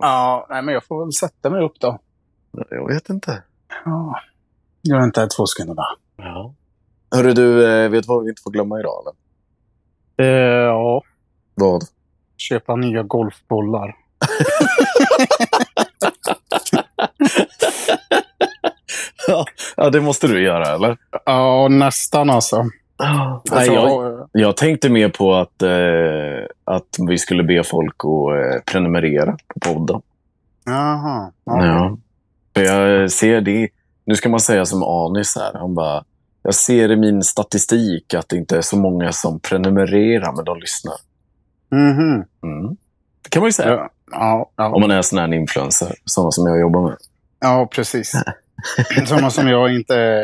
Ja, nej, men jag får väl sätta mig upp då. Jag vet inte. Ja. Jag väntar två sekunder bara. Ja. Hörru du, eh, vet du vad vi inte får glömma idag? Eller? Eh, ja, Vad? köpa nya golfbollar. Ja, det måste du göra, eller? Ja, nästan alltså. Nej, alltså jag, ja, jag tänkte mer på att, eh, att vi skulle be folk att eh, prenumerera på podden. Jaha. Ja. För jag eh, ser det. Nu ska man säga som Anis här. Han bara, jag ser i min statistik att det inte är så många som prenumererar, men de lyssnar. Mhm. Mm. Det kan man ju säga. Ja, ja, Om ja. man är en sån här influencer, sådana som jag jobbar med. ja, precis. Sådana som jag inte eh,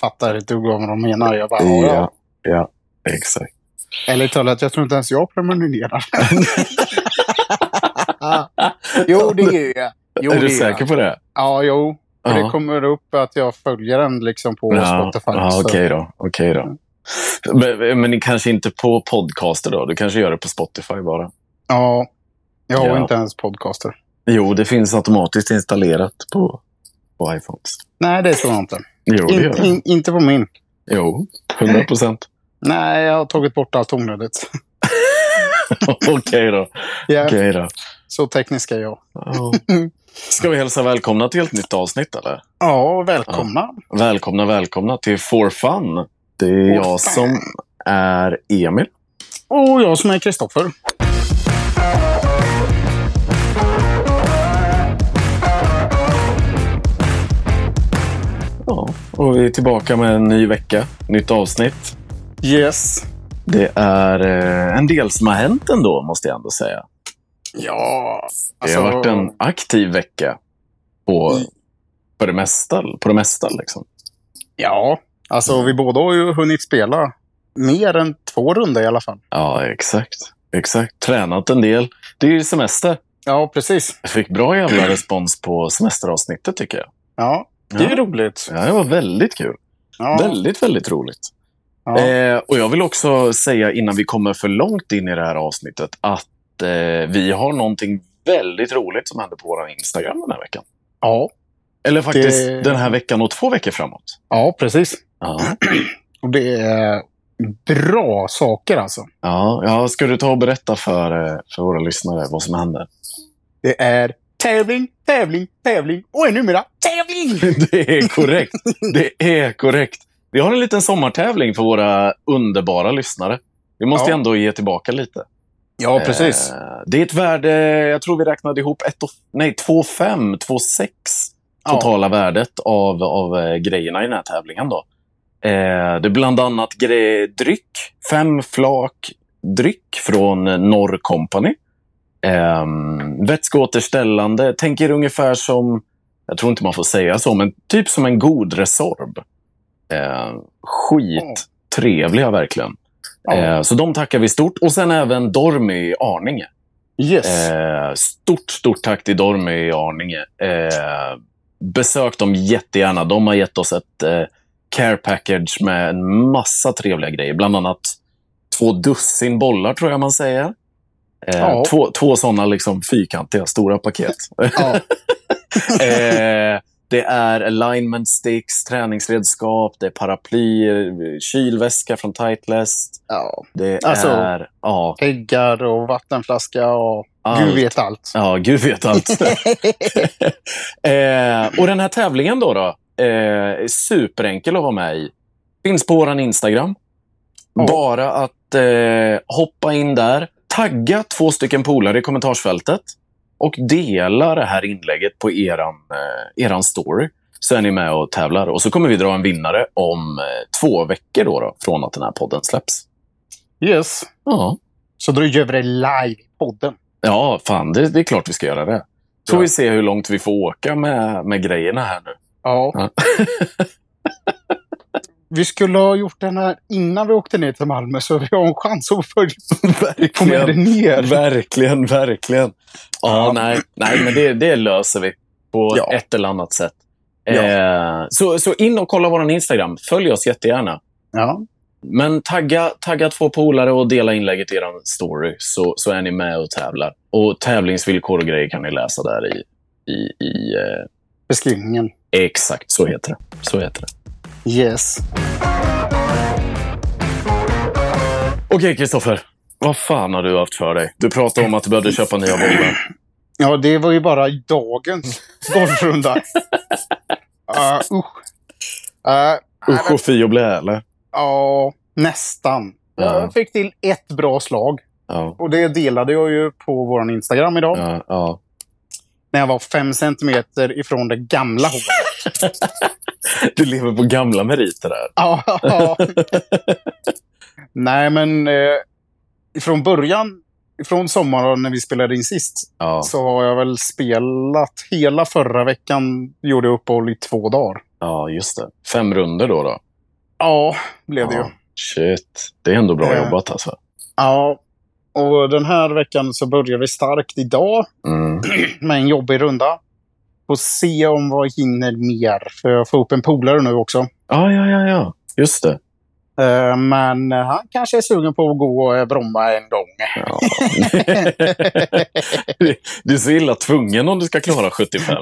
fattar ett dugg om vad de menar. Jag bara, ja. ja. ja exakt. Ärligt talat, jag tror inte ens jag prenumererar. jo, det är jag. Jo, är det du jag. säker på det? Ja, jo. För Ja. det kommer upp att jag följer den liksom på Ja, Spotify. ja så- okej då. Okej då. Men, men kanske inte på podcaster då? Du kanske gör det på Spotify bara? ja. Jag har Ja. inte ens podcaster. Jo, det finns automatiskt installerat på, på iPhones. Nej, det tror jag inte. Jo, det gör In, det. in, inte på min. Jo, 100 procent. Nej, jag har tagit bort allt onödigt. Okej då. Ja, Okej då. Så teknisk är jag. Ja. Ska vi hälsa välkomna till ett nytt avsnitt eller? Ja, välkomna. Välkomna, välkomna till For Fun. Det är For Fun. jag som är Emil. Och jag som är Kristoffer. Ja, och vi är tillbaka med en ny vecka, nytt avsnitt. Yes. Det är eh, en del som har hänt ändå, måste jag ändå säga. Ja. alltså- Det har varit en aktiv vecka på, på det mesta. På det mesta liksom. Ja. Alltså, vi båda har ju hunnit spela mer än två runder i alla fall. Ja, exakt. Exakt. Tränat en del. Det är ju semester. Ja, precis. Jag fick bra jävla respons på semesteravsnittet tycker jag. Ja, det är ju Ja. roligt. Ja, det var väldigt kul. Ja. Väldigt, väldigt roligt. Ja. Eh, och jag vill också säga innan vi kommer för långt in i det här avsnittet att eh, vi har någonting väldigt roligt som händer på vår Instagram den här veckan. ja. Eller faktiskt Det- den här veckan och två veckor framåt. Ja, precis. Ja. Och det är bra saker alltså. Ja, ja, ska du ta och berätta för, eh, för våra lyssnare vad som händer? Det är tävling, tävling, tävling och numera tävling! Det är korrekt. Det är korrekt. Vi har en liten sommartävling för våra underbara lyssnare. Vi måste Ja. ändå ge tillbaka lite. Ja, precis. Eh, Det är ett värde, jag tror vi räknade ihop ett och, nej, 2,5, 2,6 totala värdet av, av eh, grejerna i den här tävlingen. Då. Eh, det är bland annat gre- dryck, fem flak dryck från Norr Company. Eh, vätskeåterställande, tänk er ungefär som, jag tror inte man får säga så, men typ som en god Resorb. Eh, skittrevliga verkligen. Ja. Eh, så de tackar vi stort. Och sen även Dormy i Arninge. Yes. Eh, stort, stort tack till Dormy i Arninge. Eh, besök dem jättegärna. De har gett oss ett eh, care package med en massa trevliga grejer. Bland annat två dussin bollar, tror jag man säger. Eh, Ja. Två, två sådana liksom fyrkantiga, stora paket. Ja. eh, det är alignment sticks, träningsredskap, det är paraplyer, kylväska från Titleist. ja. Det Alltså- är... Ja, Peggar och vattenflaska och allt. gud vet allt. Ja, Gud vet allt. eh, och den här tävlingen då, då eh, är superenkel att vara med i. Finns på vår Instagram. Ja. Bara att eh, hoppa in där, tagga två stycken polare i kommentarsfältet och dela det här inlägget på eran, eh, eran story. Så är ni med och tävlar. Och så kommer vi dra en vinnare om eh, två veckor då, då, från att den här podden släpps. Yes. Ja. Så då gör vi det live i podden. Ja, fan, det, det är klart vi ska göra det. Får Ja. vi se hur långt vi får åka med, med grejerna här nu. Ja. Ja. Vi skulle ha gjort den här innan vi åkte ner till Malmö så vi har en chans att följa få med det verkligen, ner. verkligen, verkligen. Ja, Ja. Nej, nej, men det, det löser vi på Ja. ett eller annat sätt. Ja. Eh, så, så in och kolla vår Instagram. Följ oss jättegärna. Ja. Men tagga, tagga två polare och dela inlägget i er story så, så är ni med och tävlar. Och tävlingsvillkor och grejer kan ni läsa där i... i, i eh, Beskrivningen. Exakt, så heter det. Så heter det. Yes. Okej, Kristoffer. Vad fan har du haft för dig? Du pratade om att du behövde köpa nya bollar. Ja, det var ju bara dagens golfrunda. uh, usch. Uh, Usch och fy och blä, eller? ja, nästan. Ja. Jag fick till ett bra slag. Ja. Och det delade jag ju på vår Instagram idag. Ja, ja. När jag var fem centimeter ifrån det gamla hålet. Du lever på gamla meriter där. Ja, ja. Nej, men eh, från början, från sommaren när vi spelade in sist, Ja, så har jag väl spelat hela förra veckan. Gjorde jag uppehåll i två dagar. ja just det. Fem runder då. då. Ja, blev det ju. Ja. Shit. Det är ändå bra Eh. jobbat alltså. Ja, och den här veckan så börjar vi starkt idag Mm. med en jobbig runda. Får se om vad jag hinner mer, för jag får upp en polare nu också. Ja, ja, ja, ja. Just det. Eh, Men eh, han kanske är sugen på att gå eh, Bromma en gång. Ja. du är så illa tvungen om du ska klara 75.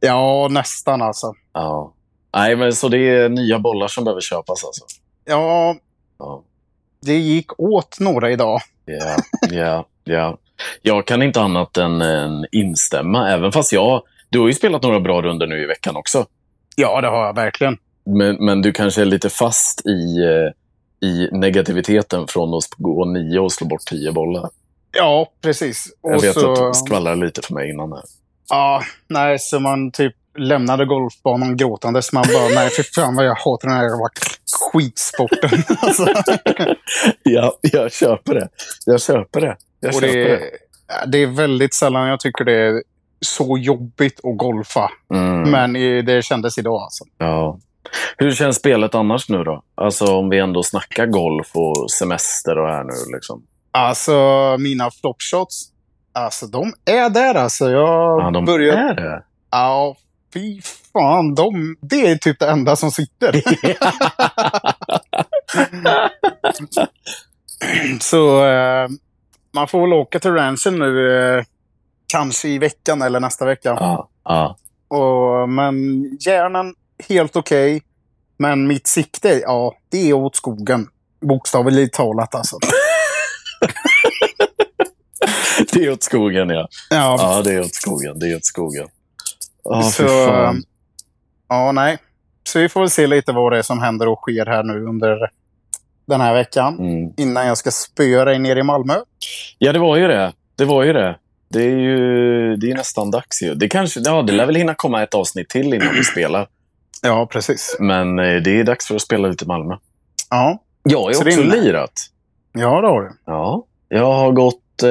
Ja, nästan alltså. Ja. Nej, men så det är nya bollar som behöver köpas alltså. Ja, Ja, det gick åt några idag. ja, ja. ja. Jag kan inte annat än, än instämma, även fast jag... Du har ju spelat några bra runder nu i veckan också. Ja, det har jag verkligen. Men, men du kanske är lite fast i, eh, i negativiteten från att gå nio och slå bort tio bollar. Ja, precis. Jag Och vet så, att du skvallrade lite för mig innan. Här. Ja, nej, så man typ lämnade golfbanan gråtandes. Man bara, nej, för fan vad jag hatar den här jävla skitsporten. alltså. Ja, jag köper det. Jag köper det. Jag Och köper det, det. är- det är väldigt sällan jag tycker det är så jobbigt att golfa. Mm. Men eh, det kändes idag alltså. Ja. Hur känns spelet annars nu då? Alltså om vi ändå snackar golf och semester och här nu liksom. Alltså, mina flopshots. Alltså, de är där alltså. Jag Ja, de börjar... är det. Ja, fy fan. De, det är typ det enda som sitter. Så eh, man får väl åka till ranchen nu. Eh, kanske i veckan eller nästa vecka. Ja, ja, Och, men hjärnan, helt okej. Men mitt sikte, ja, det är åt skogen. Bokstavligt talat alltså. det är åt skogen ja. Ja, Ja, det är åt skogen. Det är åt skogen. Ja, så, för fan. ja, nej. Så vi får väl se lite vad det är som händer och sker här nu under den här veckan. Mm. Innan jag ska spöa dig ner i Malmö. Ja, det var ju det. Det var ju det. Det är ju det är nästan dags ju. Det kanske, ja, det lär väl hinna komma ett avsnitt till innan vi spelar. Ja, precis. Men eh, det är dags för att spela lite Malmö. Ja, Jag har ju Så också det är- lirat. ja det har du. Ja, jag har gått... Eh,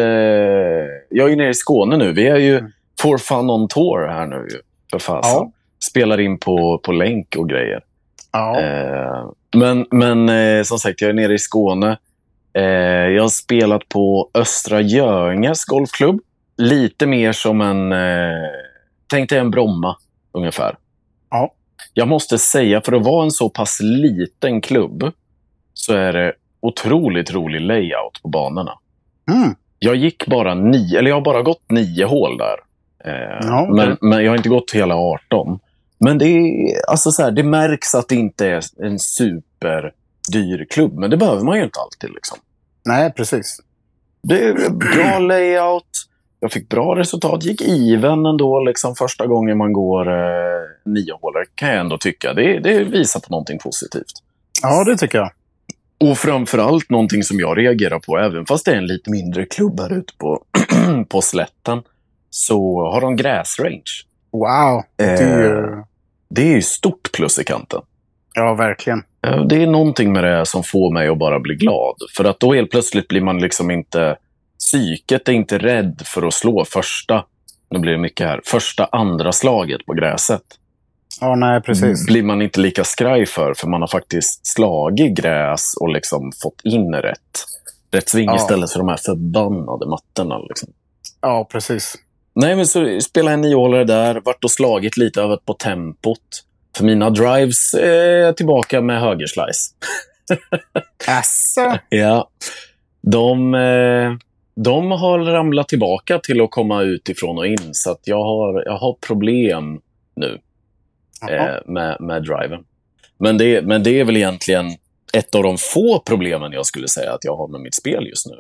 jag är ju nere i Skåne nu. Vi är ju Mm. for fun on tour här nu. ju, För fasen. Ja. Spelar in på, på länk och grejer. Ja, Eh, men men eh, som sagt, jag är nere i Skåne. Eh, jag har spelat på Östra Göinges golfklubb. Lite mer som en... Eh, tänk dig en Bromma, ungefär. Ja. Jag måste säga, för att vara en så pass liten klubb, så är det otroligt rolig layout på banorna. mm. Jag gick bara nio, eller jag har bara gått nio hål där. Eh, Ja, okej. men, men jag har inte gått hela 18. Men det, är, alltså så här, det märks att det inte är en superdyr klubb, men det behöver man ju inte alltid. Liksom. nej precis. Det är bra layout, jag fick bra resultat, gick even ändå liksom, första gången man går eh, nio hålare, kan jag ändå tycka. Det, det visar på någonting positivt. Ja, det tycker jag. Och framförallt någonting som jag reagerar på, även fast det är en lite mindre klubb här ute på, på slätten, så har de gräsrange. Wow, det är Eh, ju... det är ju stort plus i kanten. Ja, verkligen. Eh, Det är någonting med det här som får mig att bara bli glad. För att då helt plötsligt blir man liksom inte... Psyket är inte rädd för att slå första... Nu blir det mycket här. Första, andra slaget på gräset. Ja, nej precis. Blir man inte lika skraj för, för man har faktiskt slagit gräs och liksom fått in rätt. Rätt sving Ja. istället för de här förbannade mattorna. Liksom. Ja, precis. Nej, men så spelade jag niohålare där, vart och slagit lite över på tempot. För mina drives är eh, tillbaka med högerslice. Asså? Ja. De, eh, de har ramlat tillbaka till att komma utifrån och in, så att jag har, jag har problem Jaha. eh, med, med driven. Men det, men det är väl egentligen ett av de få problemen jag skulle säga att jag har med mitt spel just nu.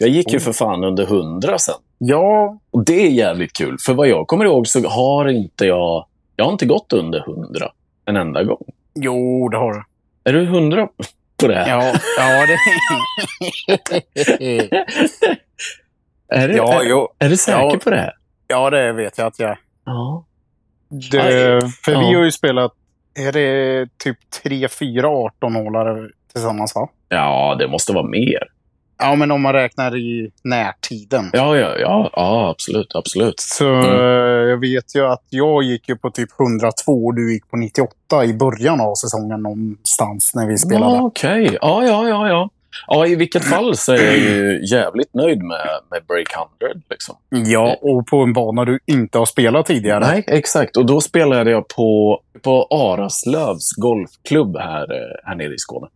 Jag gick ju Oj. för fan under 100 sen. Ja, Och det är jävligt kul, för vad jag kommer ihåg så har inte jag... Jag har inte gått under 100 en enda gång. jo, det har du. Är du 100 på det här? Ja, ja det... Är du, ja, är, jo. är du säker Ja. på det här? ja, det vet jag att jag Ja. det, För Ja. vi har ju spelat, är det typ tre fyra 18-hålare tillsammans va? Ja, det måste vara mer. Ja, men om man räknar i närtiden. Ja, ja, ja, ja absolut. absolut. Så Mm. eh, jag vet ju att jag gick ju på typ 102 och du gick på 98 i början av säsongen någonstans när vi spelade. Ja, Okej. Ja, ja, ja, ja. Ja, i vilket fall så är jag ju jävligt nöjd med, med Break 100. Liksom. Ja, och på en bana du inte har spelat tidigare. Nej, exakt. Och då spelade jag på, på Araslövs golfklubb här, eh, här nere i Skåne.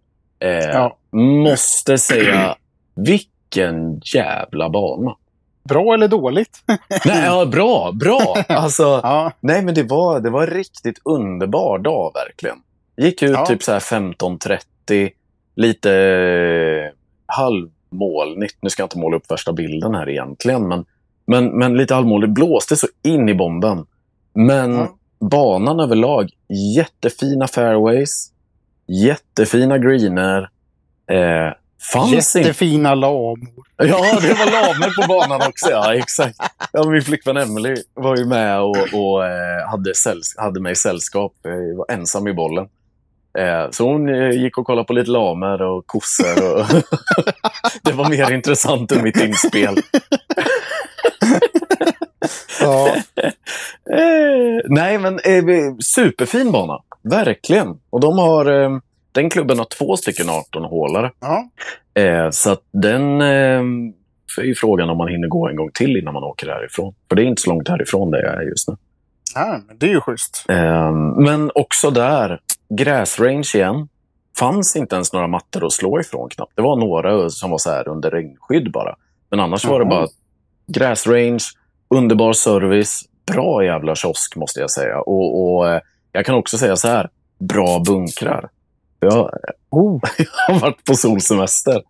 Eh, Ja. Måste säga, vilken jävla bana. Bra eller dåligt? Nej, ja, bra, bra. Alltså, Ja, nej, men det var, det var en riktigt underbar dag verkligen. Gick ut Ja. typ så här 15.30, lite eh, halvmolnigt. Nu ska jag inte måla upp värsta bilden här egentligen, men, men, men lite halvmolnigt. Blåste så in i bomben. Men ja. banan överlag, jättefina fairways, jättefina greener. Eh, fanns inte... Jättefina lamor. Ja, det var lamer på banan också. Ja, exakt. Ja, min flickvän Emily var ju med och, och eh, hade, sälls- hade mig i sällskap. Jag var ensam i bollen. Eh, så hon eh, gick och kollade på lite lamer och kossor. Och det var mer intressant än mitt inspel. Ja, Eh, nej, men eh, vi- superfin bana. Verkligen. Och de har, eh, den klubben har två stycken 18-hålare. ja. Eh, så att den eh, är ju frågan om man hinner gå en gång till innan man åker härifrån. För det är inte så långt härifrån där jag är just nu. ja men det är ju schysst. Eh, men också där, gräsrange igen. Fanns inte ens några mattor att slå ifrån knappt. Det var några som var så här under regnskydd bara. Men annars var det Mhm. bara gräsrange, underbar service, bra jävla kiosk måste jag säga. Och, och eh, jag kan också säga så här, bra bunkrar. Jag Oh, har varit på solsemester.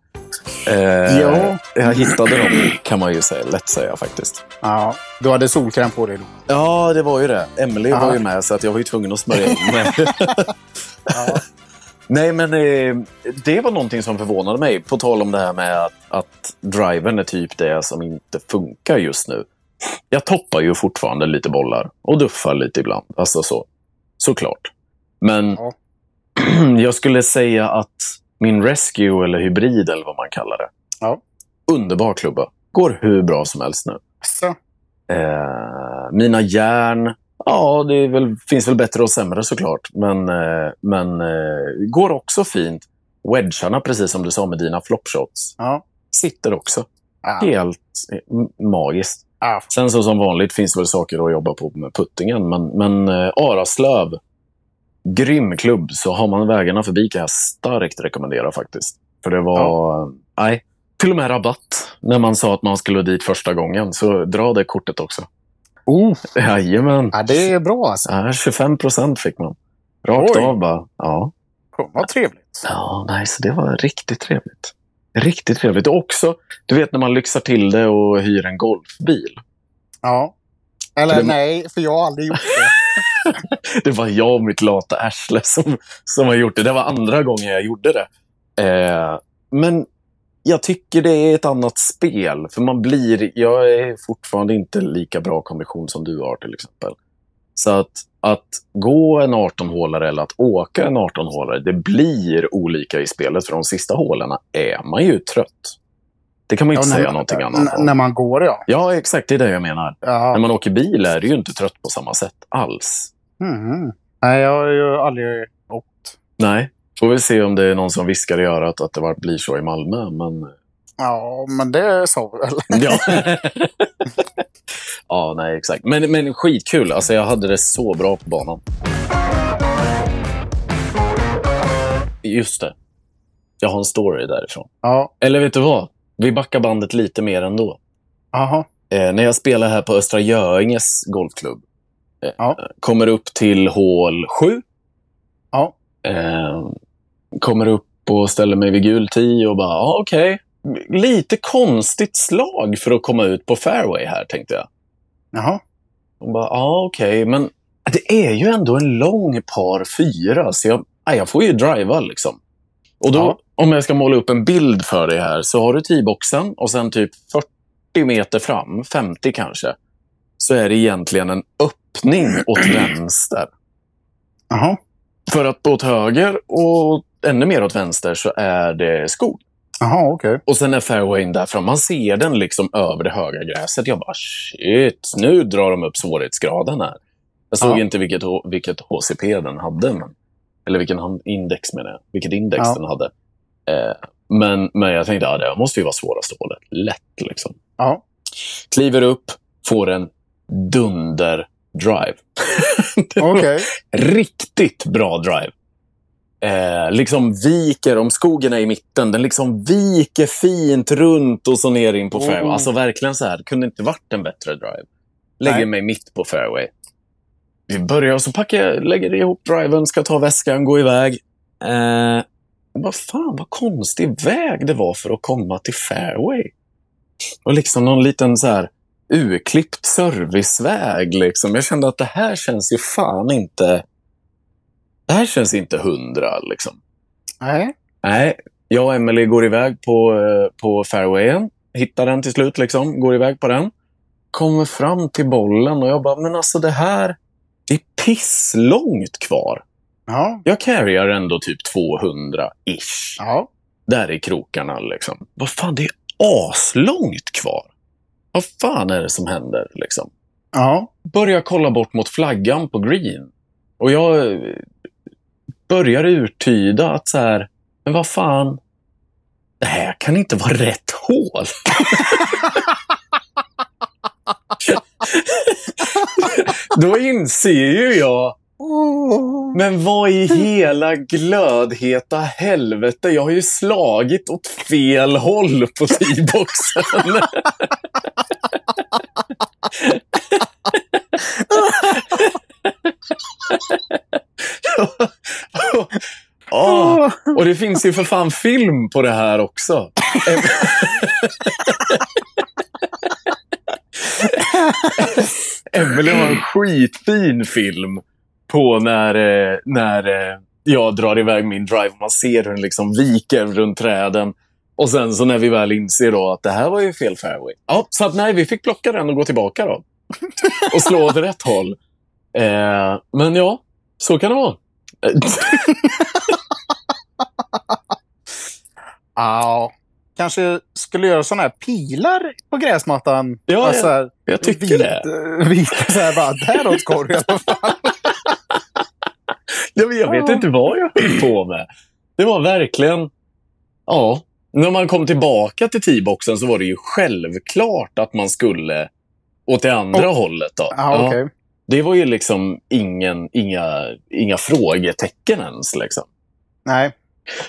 Eh, ja. jag hittade dem kan man ju säga, lätt säga faktiskt. ja. Du hade solkräm på dig då. Ja, det var ju det. Emily Ja. var ju med så att jag var ju tvungen att smörja in mig. Ja. Nej, men eh, det var någonting som förvånade mig. På tal om det här med att, att drivern är typ det som inte funkar just nu. Jag toppar ju fortfarande lite bollar och duffar lite ibland. Alltså så. Såklart. Men Ja. jag skulle säga att min Rescue eller Hybrid eller vad man kallar det. Ja. Underbar klubba. Går hur bra som helst nu. Så. Eh, mina järn. Ja, det är väl, finns väl bättre och sämre såklart. Men, eh, men eh, går också fint. Wedgarna, precis som du sa med dina flopshots, Ja. sitter också. Ja. Helt eh, m- magiskt. Ja. Sen så som vanligt finns det väl saker att jobba på med puttingen, men, men eh, Araslöv, grym klubb, så har man vägarna förbi kan jag starkt rekommendera faktiskt. För det var, eh, nej, till och med rabatt när man sa att man skulle dit första gången, så dra det kortet också. Oh, Jajamän, ja, det är bra alltså. ja, 25 procent fick man. Rakt Oj. av bara. Ja. Vad trevligt. Ja, nej, så det var riktigt trevligt. Riktigt trevligt. Och också, du vet när man lyxar till det och hyr en golfbil. Ja. Eller För det- nej, för jag har aldrig gjort det. Det var jag och mitt lata arsle som, som har gjort det. Det var andra gången jag gjorde det. Eh, men jag tycker det är ett annat spel. För man blir... Jag är fortfarande inte lika bra kondition som du har till exempel. Så att, att gå en 18-hålare eller att åka en 18-hålare, det blir olika i spelet. För de sista hålarna är man ju trött. Det kan man ju inte Ja, när- säga någonting annat N- om. när man går ja. Ja, exakt. Det är det jag menar. När ja. man åker bil är du ju inte trött på samma sätt alls. Mhm. Nej, jag har ju aldrig åkt. Nej. Får vi se om det är någon som viskar i örat att det var, blir så i Malmö. Men... Ja, men det sa vi väl. Ja. ja, nej, exakt. Men, men skitkul. Alltså, jag hade det så bra på banan. Just det. Jag har en story därifrån. Ja, Eller vet du vad? Vi backar bandet lite mer ändå. aha. Eh, när jag spelar här på Östra Göinges golfklubb. Eh, Ja. Kommer upp till hål 7. Ja. Eh, kommer upp och ställer mig vid gul 10 och bara, ah, okej. Lite konstigt slag för att komma ut på fairway här, tänkte jag. Jaha. Och bara, ah, okej, men det är ju ändå en lång par fyra, så jag, ah, jag får ju driva liksom. Och då, Ja. om jag ska måla upp en bild för dig här, så har du tee-boxen och sen typ 40 meter fram, 50 kanske, så är det egentligen en öppning åt vänster. Jaha. För att åt höger och ännu mer åt vänster så är det skog. Jaha, okej. Och sen är fairwayen där fram. Man ser den liksom över det höga gräset. Jag bara shit, nu drar de upp svårighetsgraden här. Jag såg Ja. inte vilket, H- vilket HCP den hade. Men, eller vilken hand- index menar jag. Vilket index Ja. den hade. Eh, men, men jag tänkte att ja, det måste ju vara svåraste hålet. Lätt liksom. Ja. Kliver upp, får en dunder-drive. Det var- Okej. riktigt bra drive. Eh, liksom viker, om skogen är i mitten, den liksom viker fint runt och så ner in på Oh. fairway. Alltså verkligen så här, det kunde inte varit en bättre drive. Lägger Nej. mig mitt på fairway. Vi börjar och så packar jag, lägger ihop driven, ska ta väskan, gå iväg. Eh, och bara fan vad konstig väg det var för att komma till fairway. Och liksom någon liten så här urklippt serviceväg. Liksom. Jag kände att det här känns ju fan inte... Det här känns inte hundra. Liksom. Nej. Nej, jag och Emily går iväg på, eh, på fairwayen. Hittar den till slut, liksom. går iväg på den. Kommer fram till bollen och jag bara, men alltså det här... Det är pisslångt kvar. Ja. Jag carryar ändå typ 200-ish. Ja. Där i krokarna liksom. Vad fan, det är aslångt kvar. Vad fan är det som händer liksom? Ja. börjar kolla bort mot flaggan på green. Och jag eh, börjar urtyda att så här, men vad fan, det här kan inte vara rätt hål. Då inser ju jag, men vad i hela glödheta helvete, jag har ju slagit åt fel håll på t-boxen. Ah. Åh. Och det finns ju för fan film på det här också. Em- Emily har en skitfin film på när, eh, när eh, jag drar iväg min drive. Man ser hur den liksom viker runt träden. Och sen så när vi väl inser då att det här var ju fel fairway. Ja, så att nej, vi fick plocka den och gå tillbaka då. Och slå åt rätt håll. Eh, men ja, så kan det vara. Eh, Ja. Kanske skulle göra sådana här pilar på gräsmattan. Ja, alltså, jag, jag tycker vit, det. eh, Vita så här bara, däråt ska du i alla fall. Ja, men jag vet Ja. inte vad jag höll på med. Det var verkligen... Ja. När man kom tillbaka till T-boxen så var det ju självklart att man skulle åt det andra hållet. Då. Ja, okej. Det var ju liksom ingen, inga, inga frågetecken ens. Liksom. Nej.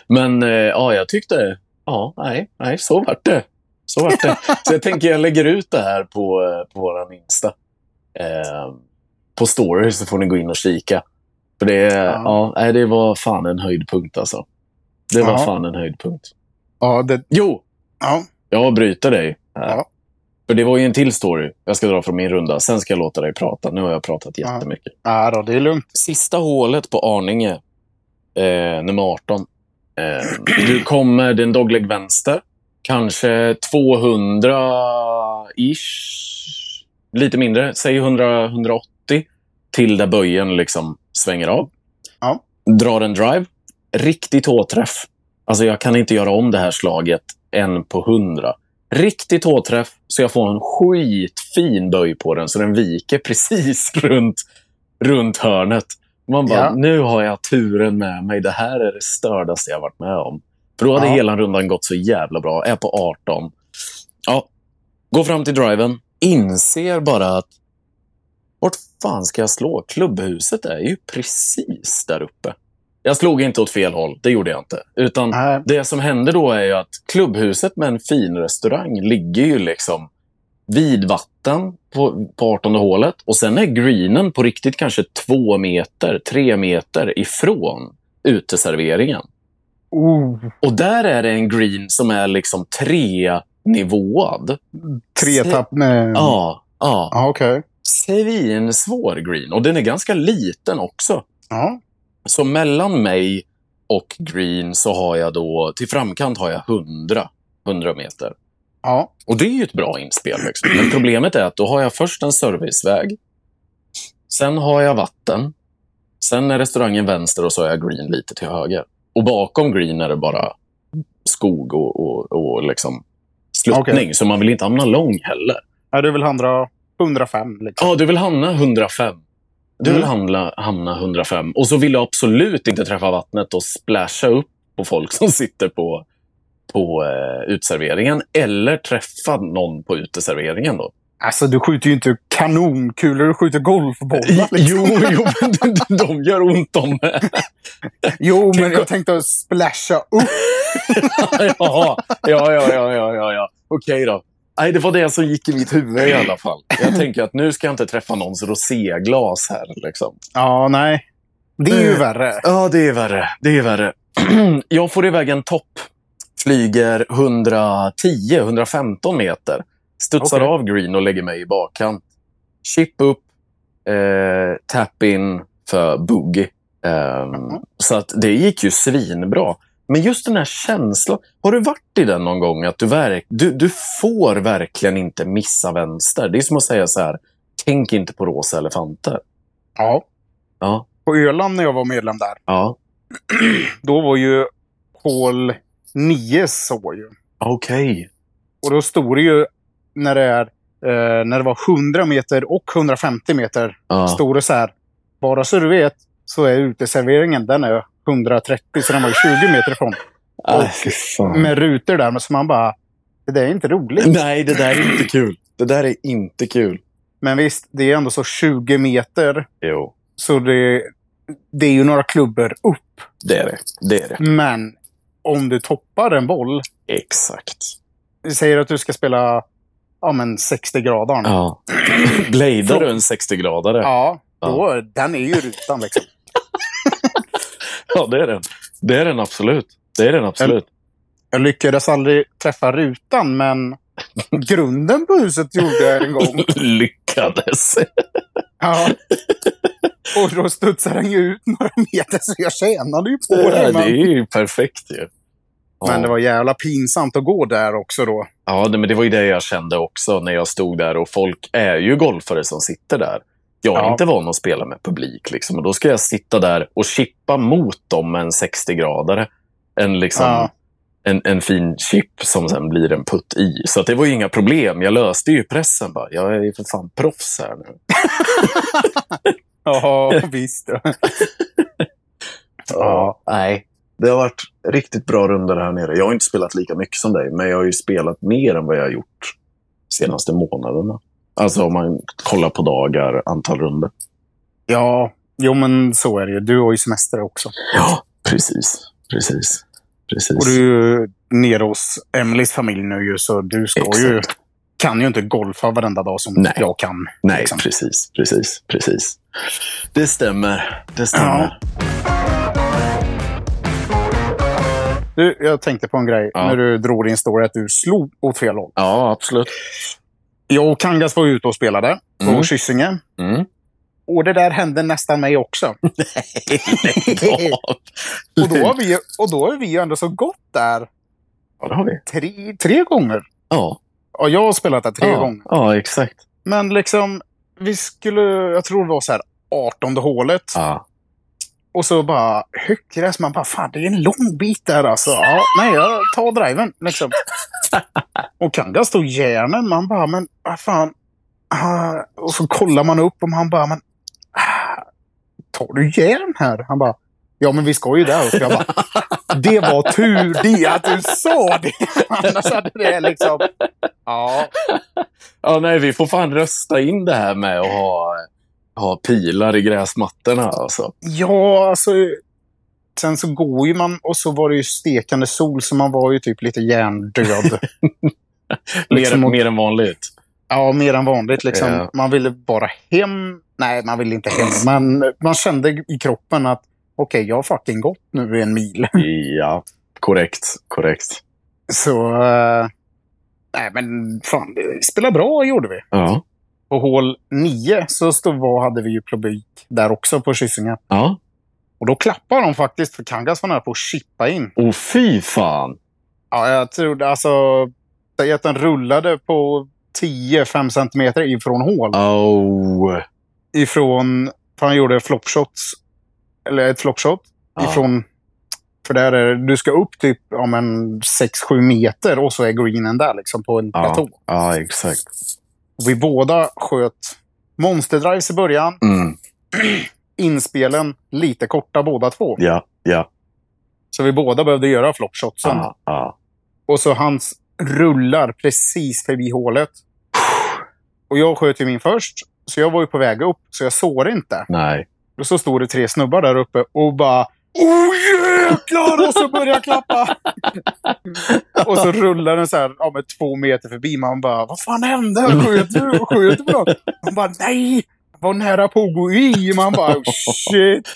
Men eh, ja, jag tyckte... Ja, nej, nej, så vart det. Så vart det. Så jag tänker jag lägger ut det här på, eh, på vår Insta. Eh, på story så får ni gå in och kika. För det, ja. Ja. nej, det var fan en höjdpunkt alltså. Det var Ja. fan en höjdpunkt. Ja, det... Jo, Ja. jag avbryter dig. här. Ja. För det var ju en till story jag ska dra från min runda. Sen ska jag låta dig prata. Nu har jag pratat Ja. jättemycket. Ja, då, det är lugnt. Sista hålet på Arninge, eh, nummer 18. Eh, du kommer, det är en dogleg vänster. Kanske 200-ish. Lite mindre, säg 100, 180. Till där böjen liksom svänger av. Ja. Drar en drive. Riktigt hårträff. Alltså jag kan inte göra om det här slaget en på 100. Riktigt hårträff, så jag får en skitfin böj på den, så den viker precis runt runt hörnet. Man bara, Ja. nu har jag turen med mig. Det här är det stördaste jag varit med om. För då hade Ja. hela rundan gått så jävla bra. Är på 18. Ja, går fram till driven. Inser bara att vart fan ska jag slå? Klubbhuset är ju precis där uppe. Jag slog inte åt fel håll, det gjorde jag inte. Utan Nej. det som hände då är ju att klubbhuset med en fin restaurang ligger ju liksom vid vatten på, på 18 hålet. Och sen är greenen på riktigt kanske två meter, tre meter ifrån uteserveringen. Oh, Och där är det en green som är liksom tre nivåad. tre Se- tapp. Nej. Ja, ja. Ja, okej. Svinsvår green. Och den är ganska liten också. Ja. Så mellan mig och green så har jag då, till framkant har jag 100, 100 meter. Ja. Och det är ju ett bra inspel. Liksom. Men problemet är att då har jag först en serviceväg. Sen har jag vatten. Sen är restaurangen vänster och så har jag green lite till höger. Och bakom green är det bara skog och, och, och liksom sluttning. Okej. Så man vill inte hamna lång heller. ja, du vill handla 105 liksom. Ja, du vill hamna 105. Du Mm. vill hamna, hamna 105. Och så vill du absolut inte träffa vattnet och splasha upp på folk som sitter på, på eh, utserveringen. Eller träffa någon på uteserveringen. Då. Alltså, du skjuter ju inte kanonkulor, du skjuter golfbollar. Jo, jo, men de, de gör ont om det. Jo, men jag tänkte splasha upp. ja, ja, ja, ja, ja, ja. Okej då. Nej, det var det som gick i mitt huvud i alla fall. Jag tänker att nu ska jag inte träffa någons roséglas här. Liksom. Ja, nej. Det är ju Mm. värre. Ja, det är värre. Det är värre. jag får iväg en topp. Flyger 110-115 meter. Studsar Okej. av green och lägger mig i bakkant. Chip upp. Eh, tap in för boogie. Ehm, Så att det gick ju svinbra. Men just den här känslan. Har du varit i den någon gång? Att du, verk, du, du får verkligen inte missa vänster. Det är som att säga så här. Tänk inte på rosa elefanter. Ja. Ja. På Öland när jag var medlem där, Ja. då var ju hål 9 så ju. Okej. Och då stod det ju när det, är, eh, när det var 100 meter och 150 meter, Ja. stod det så här. Bara så du vet så är uteserveringen, den är 130, så den var ju 20 meter ifrån. Ah, fy fan. Med rutor där, men så man bara, det där är inte roligt. Nej, det där är inte kul. Det där är inte kul. Men visst, det är ändå så 20 meter, Jo, så det, det är ju några klubbor upp. det är det. Det är det. Men om du toppar en boll, Exakt. vi säger att du ska spela ja, men 60 grader. Ja. Ja. Bladar du en 60-gradare? Ja. då, den är ju rutan liksom. det är den. Det är den absolut. Det är den absolut. Jag lyckades aldrig träffa rutan, men grunden på huset gjorde jag en gång. Lyckades. Ja. Och då studsade den ju ut några meter, så jag tjänade ju på det. Ja, det är Men, ju perfekt ju. Ja. men det var jävla pinsamt att gå där också då. Ja, det- men det var ju det jag kände också när jag stod där och folk är ju golfare som sitter där. Jag är Ja. inte van att spela med publik liksom och då ska jag sitta där och chippa mot dem med en 60-gradare. En, liksom, Ja. en, en fin chip som sen blir en putt i. Så att det var ju inga problem. Jag löste ju pressen bara. Jag är ju för fan proffs här nu. Ja, visst. Ja. Nej, det har varit riktigt bra runder här nere. Jag har inte spelat lika mycket som dig, men jag har ju spelat mer än vad jag har gjort senaste månaderna. Alltså om man kollar på dagar, antal runder. Ja, jo men så är det ju. Du har ju semester också. Ja, precis. Precis. Precis. Och du är ju nere hos Emelies familj nu ju, så du ska Exakt. ju, kan ju inte golfa varenda dag som Nej. jag kan. Nej, liksom. precis. Precis. Precis. Det stämmer. Det stämmer. Du, jag tänkte på en grej Ja. när du drog din story att du slog åt fel håll. Ja, absolut. Jag och Kangas var ute och spelade på Mm. Kyssinge. Mm. Och det där hände nästan mig också. Lägg av. Och då har vi ju, och då har vi ju ändå så gått där Ja, det har vi. tre, tre gånger. Ja, Ja, jag har spelat där tre ja, gånger. Ja, exakt. Men liksom, vi skulle, jag tror det var så här 18 hålet. Ja. Och så bara höckgräs. Man bara, fan det är en lång bit där alltså. Ja, nej, jag tar driven liksom. Och Kangas stod järnen. Man bara, men vad fan. Ah, Och så kollar man upp och han bara, men ah, tar du järn här? Han bara, ja men vi ska ju där uppe. Jag bara, det var tur det att du sa det. Annars hade det liksom, ja. Ja, nej, vi får fan rösta in det här med att ha, ha pilar i gräsmattorna. Alltså. Ja, alltså. Sen så går ju man och så var det ju stekande sol så man var ju typ lite hjärndöd. Mer, Liksom- mer än vanligt. ja, mer än vanligt liksom. Ja. Man ville bara hem. Nej, man ville inte hem, men man kände i kroppen att okej, jag har fucking gått nu en mil. Ja, korrekt. korrekt. Så... eh, nej, men fan, det spelar bra gjorde vi. Ja. På hål 9 så stod, var, hade vi ju publik där också på Kyssingen. ja. Och då klappar de faktiskt, för Kangas var nära på att chippa in. Åh, fy fan. Ja, jag trodde alltså... Geten rullade på 10-5 centimeter ifrån hål. Oh. Ifrån... För han gjorde flopshots. Eller ett flopshot. Ja. Ifrån... För där är, du ska upp typ om en 6-7 meter och så är greenen där liksom på en Ja. platå. Ja, exakt. Och vi båda sköt monsterdrives i början. Mm. Inspelen lite korta båda två. Ja, ja. Så vi båda behövde göra flopshotsen. Ja, ja. Och så hans rullar precis förbi hålet. Och jag sköt ju min först. Så jag var ju på väg upp, så jag såg det inte. Nej. Och så stod det tre snubbar där uppe och bara Oh jäklar! Och så började jag klappa. och så rullar den så här, ja, med två meter förbi. Man bara, vad fan hände? Sköt du? Sköt du på något? Man bara, nej! Jag var nära på att gå i. Man bara, "Oh, shit.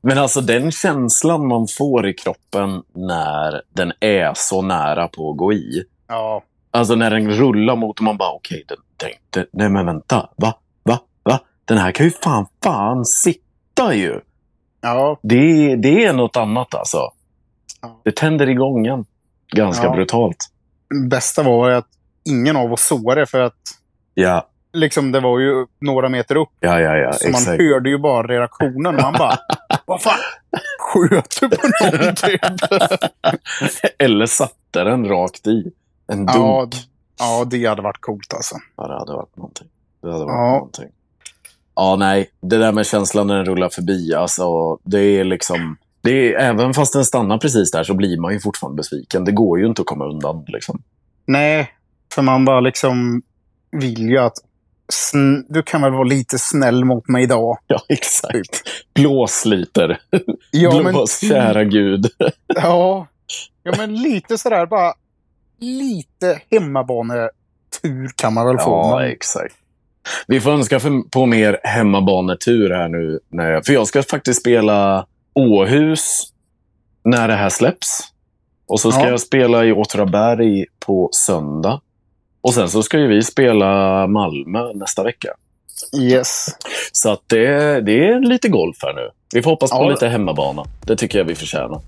Men alltså den känslan man får i kroppen när den är så nära på att gå i. Ja, Alltså när den rullar mot och man bara okej, den tänkte, nej men vänta, va, va, va? Den här kan ju fan, fan sitta ju. ja, Det, det är något annat alltså. Ja. Det tänder igång en. Ganska Ja. brutalt. bästa var ju att ingen av oss såg det för att Ja, liksom, det var ju några meter upp. ja, ja, ja Så man exakt. hörde ju bara reaktionen. Man bara, vad fan, sköt du på någon typ? Eller satte den rakt i. En dunk. Ja, Ja. d- ja, det hade varit coolt alltså. det hade varit någonting. Det hade varit Ja. någonting. Ja, nej. Det där med känslan när den rullar förbi. Alltså, det är liksom... Det är, även fast den stannar precis där så blir man ju fortfarande besviken. Det går ju inte att komma undan. Liksom. Nej, för man bara liksom vill ju att sn- du kan väl vara lite snäll mot mig idag. Ja, exakt. Blås lite. Ja, Blås, kära gud. Ja, ja, men lite sådär bara. Lite hemmabanetur kan man väl få. Ja, men- exakt. Vi får önska för, på mer hemmabanetur här nu. När jag, för jag ska faktiskt spela Åhus när det här släpps. Och så ska Ja. jag spela i Åtvidaberg på söndag. Och sen så ska ju vi spela Malmö nästa vecka. Yes. Så att det, det är lite golf här nu. Vi får hoppas på Ja. lite hemmabana. Det tycker jag vi förtjänar.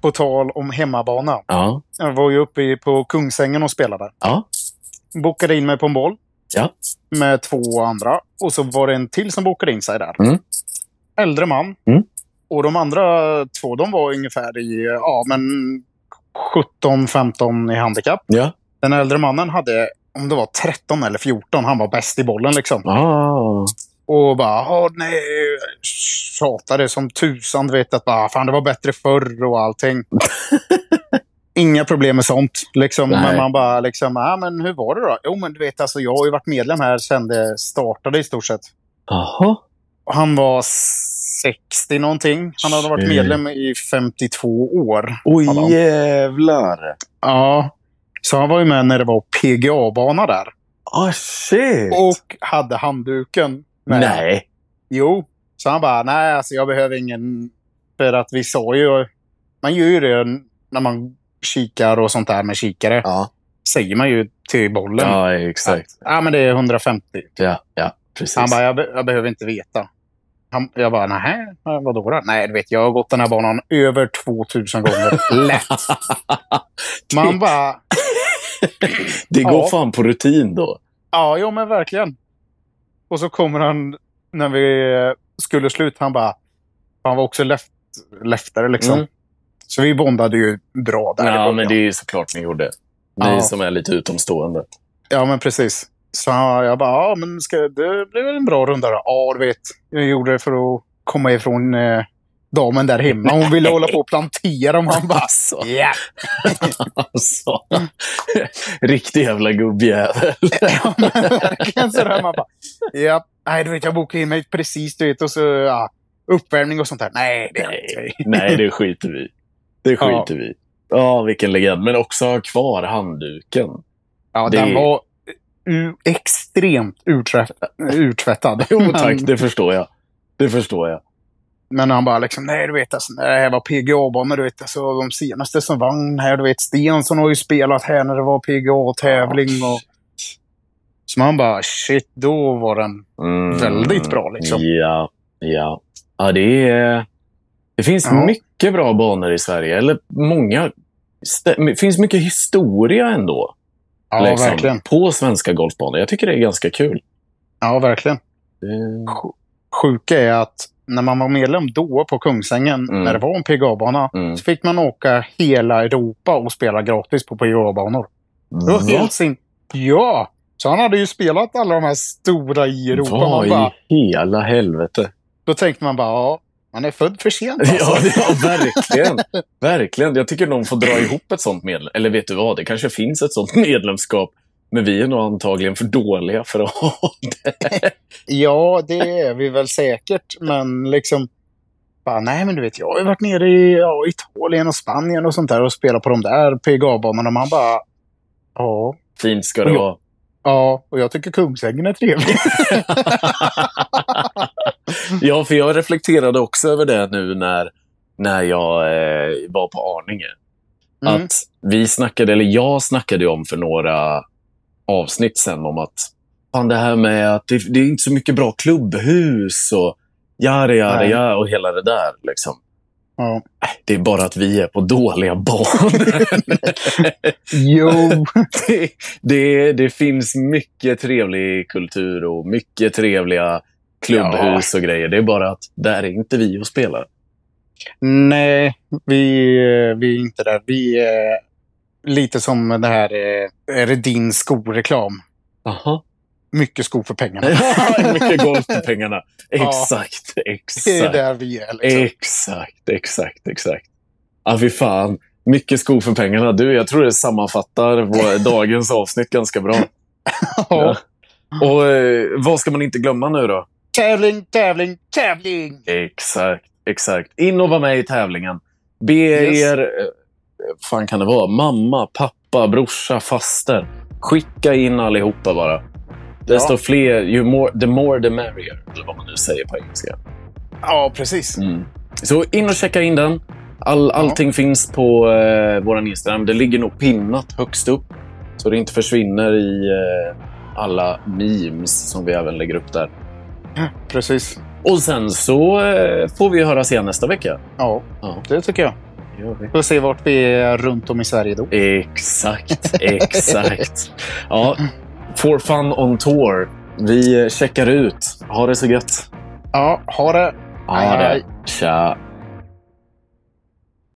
På tal om hemmabana. Ja. Jag var ju uppe i- på Kungsängen och spelade. Ja. Bokade in mig på en boll. Ja. med två andra. Och så var det en till som bokade in sig där. Mm. Äldre man. Mm. Och de andra två, de var ungefär i ja, men 17-15 i handikapp. Ja. Den äldre mannen hade, om det var 13 eller 14, han var bäst i bollen liksom. Ah. Och bara, ja nej, tjatade som tusan, du vet att bara, fan det var bättre förr och allting. Inga problem med sånt. Liksom, Nej. men man bara liksom, ja men hur var det då? Jo men du vet alltså, jag har ju varit medlem här sedan det startade i stort sett. Aha. Och Han var 60 någonting. Han hade varit Shit. medlem i 52 år. Oj, jävlar. Ja. Så han var ju med när det var PGA-bana där. Ah, shit. Och hade handduken med. Nej. Jo. Så han bara, nej alltså jag behöver ingen... För att vi sa ju... Man gör ju det när man kikar och sånt där med kikare. Ja, Säger man ju till bollen. ja exakt. Ja men det är 150. Ja, ja precis. Han bara, jag, be- jag behöver inte veta. Han, jag bara, nähä, vadå då? Nej, du vet, jag har gått den här banan över 2000 gånger. Lätt. Man bara, det går ja. fan på rutin då. ja, jo men verkligen. Och så kommer han, när vi skulle sluta, han bara, han var också left, leftare liksom. Mm. Så vi bondade ju bra där. i Ja, början. men det är ju såklart ni gjorde. Ni Ja. som är lite utomstående. ja, men precis. Så han- jag bara, ja men ska, det blev väl en bra runda då? Ja, du vet. Jag gjorde det för att komma ifrån eh, damen där hemma. Hon ville hålla på och plantera dem. Han bara, Alltså, ja. alltså. Riktig jävla gubbjävel. Ja, men Verkligen sådär. Man bara, ja. Nej, du vet, jag bokade in mig precis, du vet. Och så, ja, uppvärmning och sånt där. Nej, det Nej. är inte. Nej, det skiter vi i. Det Ja. skiter vi i. Ja, vilken legend. Men också ha kvar handduken. Ja, Det- den var u- extremt urtvätt, urtvättad. Jo tack, Men, det förstår jag. Det förstår jag. men han bara liksom, nej du vet alltså, när det här var PGA-banor du vet. Alltså, de senaste som vann här, du vet. Stensson har ju spelat här när det var PGA-tävling. Och... Så man bara, shit, då var den... Mm. Väldigt bra, liksom. Ja, ja. ja det, är, det finns Ja. mycket bra banor i Sverige. Eller många. stä- Det finns mycket historia ändå. Ja, liksom, verkligen. På svenska golfbanor. Jag tycker det är ganska kul. Ja, verkligen. Det- Sj- Sjuka är att när man var medlem då på Kungsängen, Mm. när det var en PGA-bana, Mm. så fick man åka hela Europa och spela gratis på PGA-banor. Det var Va? helt sin... Ja! Så han hade ju spelat alla de här stora i Europa. Vad Man i bara, hela helvete? då tänkte man bara, ja, man är född för sent alltså. Ja, det- ja, verkligen. verkligen. Jag tycker någon får dra ihop ett sånt medlem. Eller vet du vad, det kanske finns ett sånt medlemskap. Men vi är nog antagligen för dåliga för att ha det. Ja, det är vi väl säkert, men liksom... Bara, nej, men du vet, jag har ju varit nere i ja, Italien och Spanien och sånt där och spelat på de där PGA-banorna. Man bara, ja, Fint ska det Och jag- vara. ja, och jag tycker Kungsängen är trevlig. Ja, för jag reflekterade också över det nu när, när jag eh, var på Arninge. Mm. Att vi snackade, eller jag snackade ju om för några avsnitt sen om att fan det här med att det, det är inte så mycket bra klubbhus och jari, jari, Nej. jari och hela det där. Liksom. Ja. Äh, Det är bara att vi är på dåliga banor. Jo, det, det, det finns mycket trevlig kultur och mycket trevliga klubbhus och grejer. Det är bara att där är inte vi och spelar. nej, vi, eh, vi är inte där. Vi är lite som det här, eh, är det din skoreklam? Aha. Mycket sko för pengarna. mycket golf för pengarna. Ja. Exakt, Det är exakt. där vi är. Liksom. Exakt, exakt, exakt. Ja, fy fan. Mycket skog för pengarna. Du, jag tror det sammanfattar vår, dagens avsnitt ganska bra. Ja. Och eh, vad ska man inte glömma nu då? Tävling, tävling, tävling! Exakt, exakt. In och var med i tävlingen. Be Yes. er, eh, fan kan det vara, mamma, pappa, brorsa, faster. Skicka in allihopa bara. Desto fler, ju more, the more the merrier, eller vad man nu säger på engelska. Ja, precis. Mm. Så in och checka in den. All, allting finns på eh, vår Instagram. Det ligger nog pinnat högst upp. Så det inte försvinner i eh, alla memes som vi även lägger upp där. Precis. Och sen så eh, får vi höras igen nästa vecka. Ja, Ja. det tycker jag. Gör vi. Får se vart vi är runt om i Sverige då. Exakt, exakt. Ja, for fun on tour. Vi eh, checkar ut. Ha det så gött. Ja, ha det! Ha Hej, hej. det. Tja.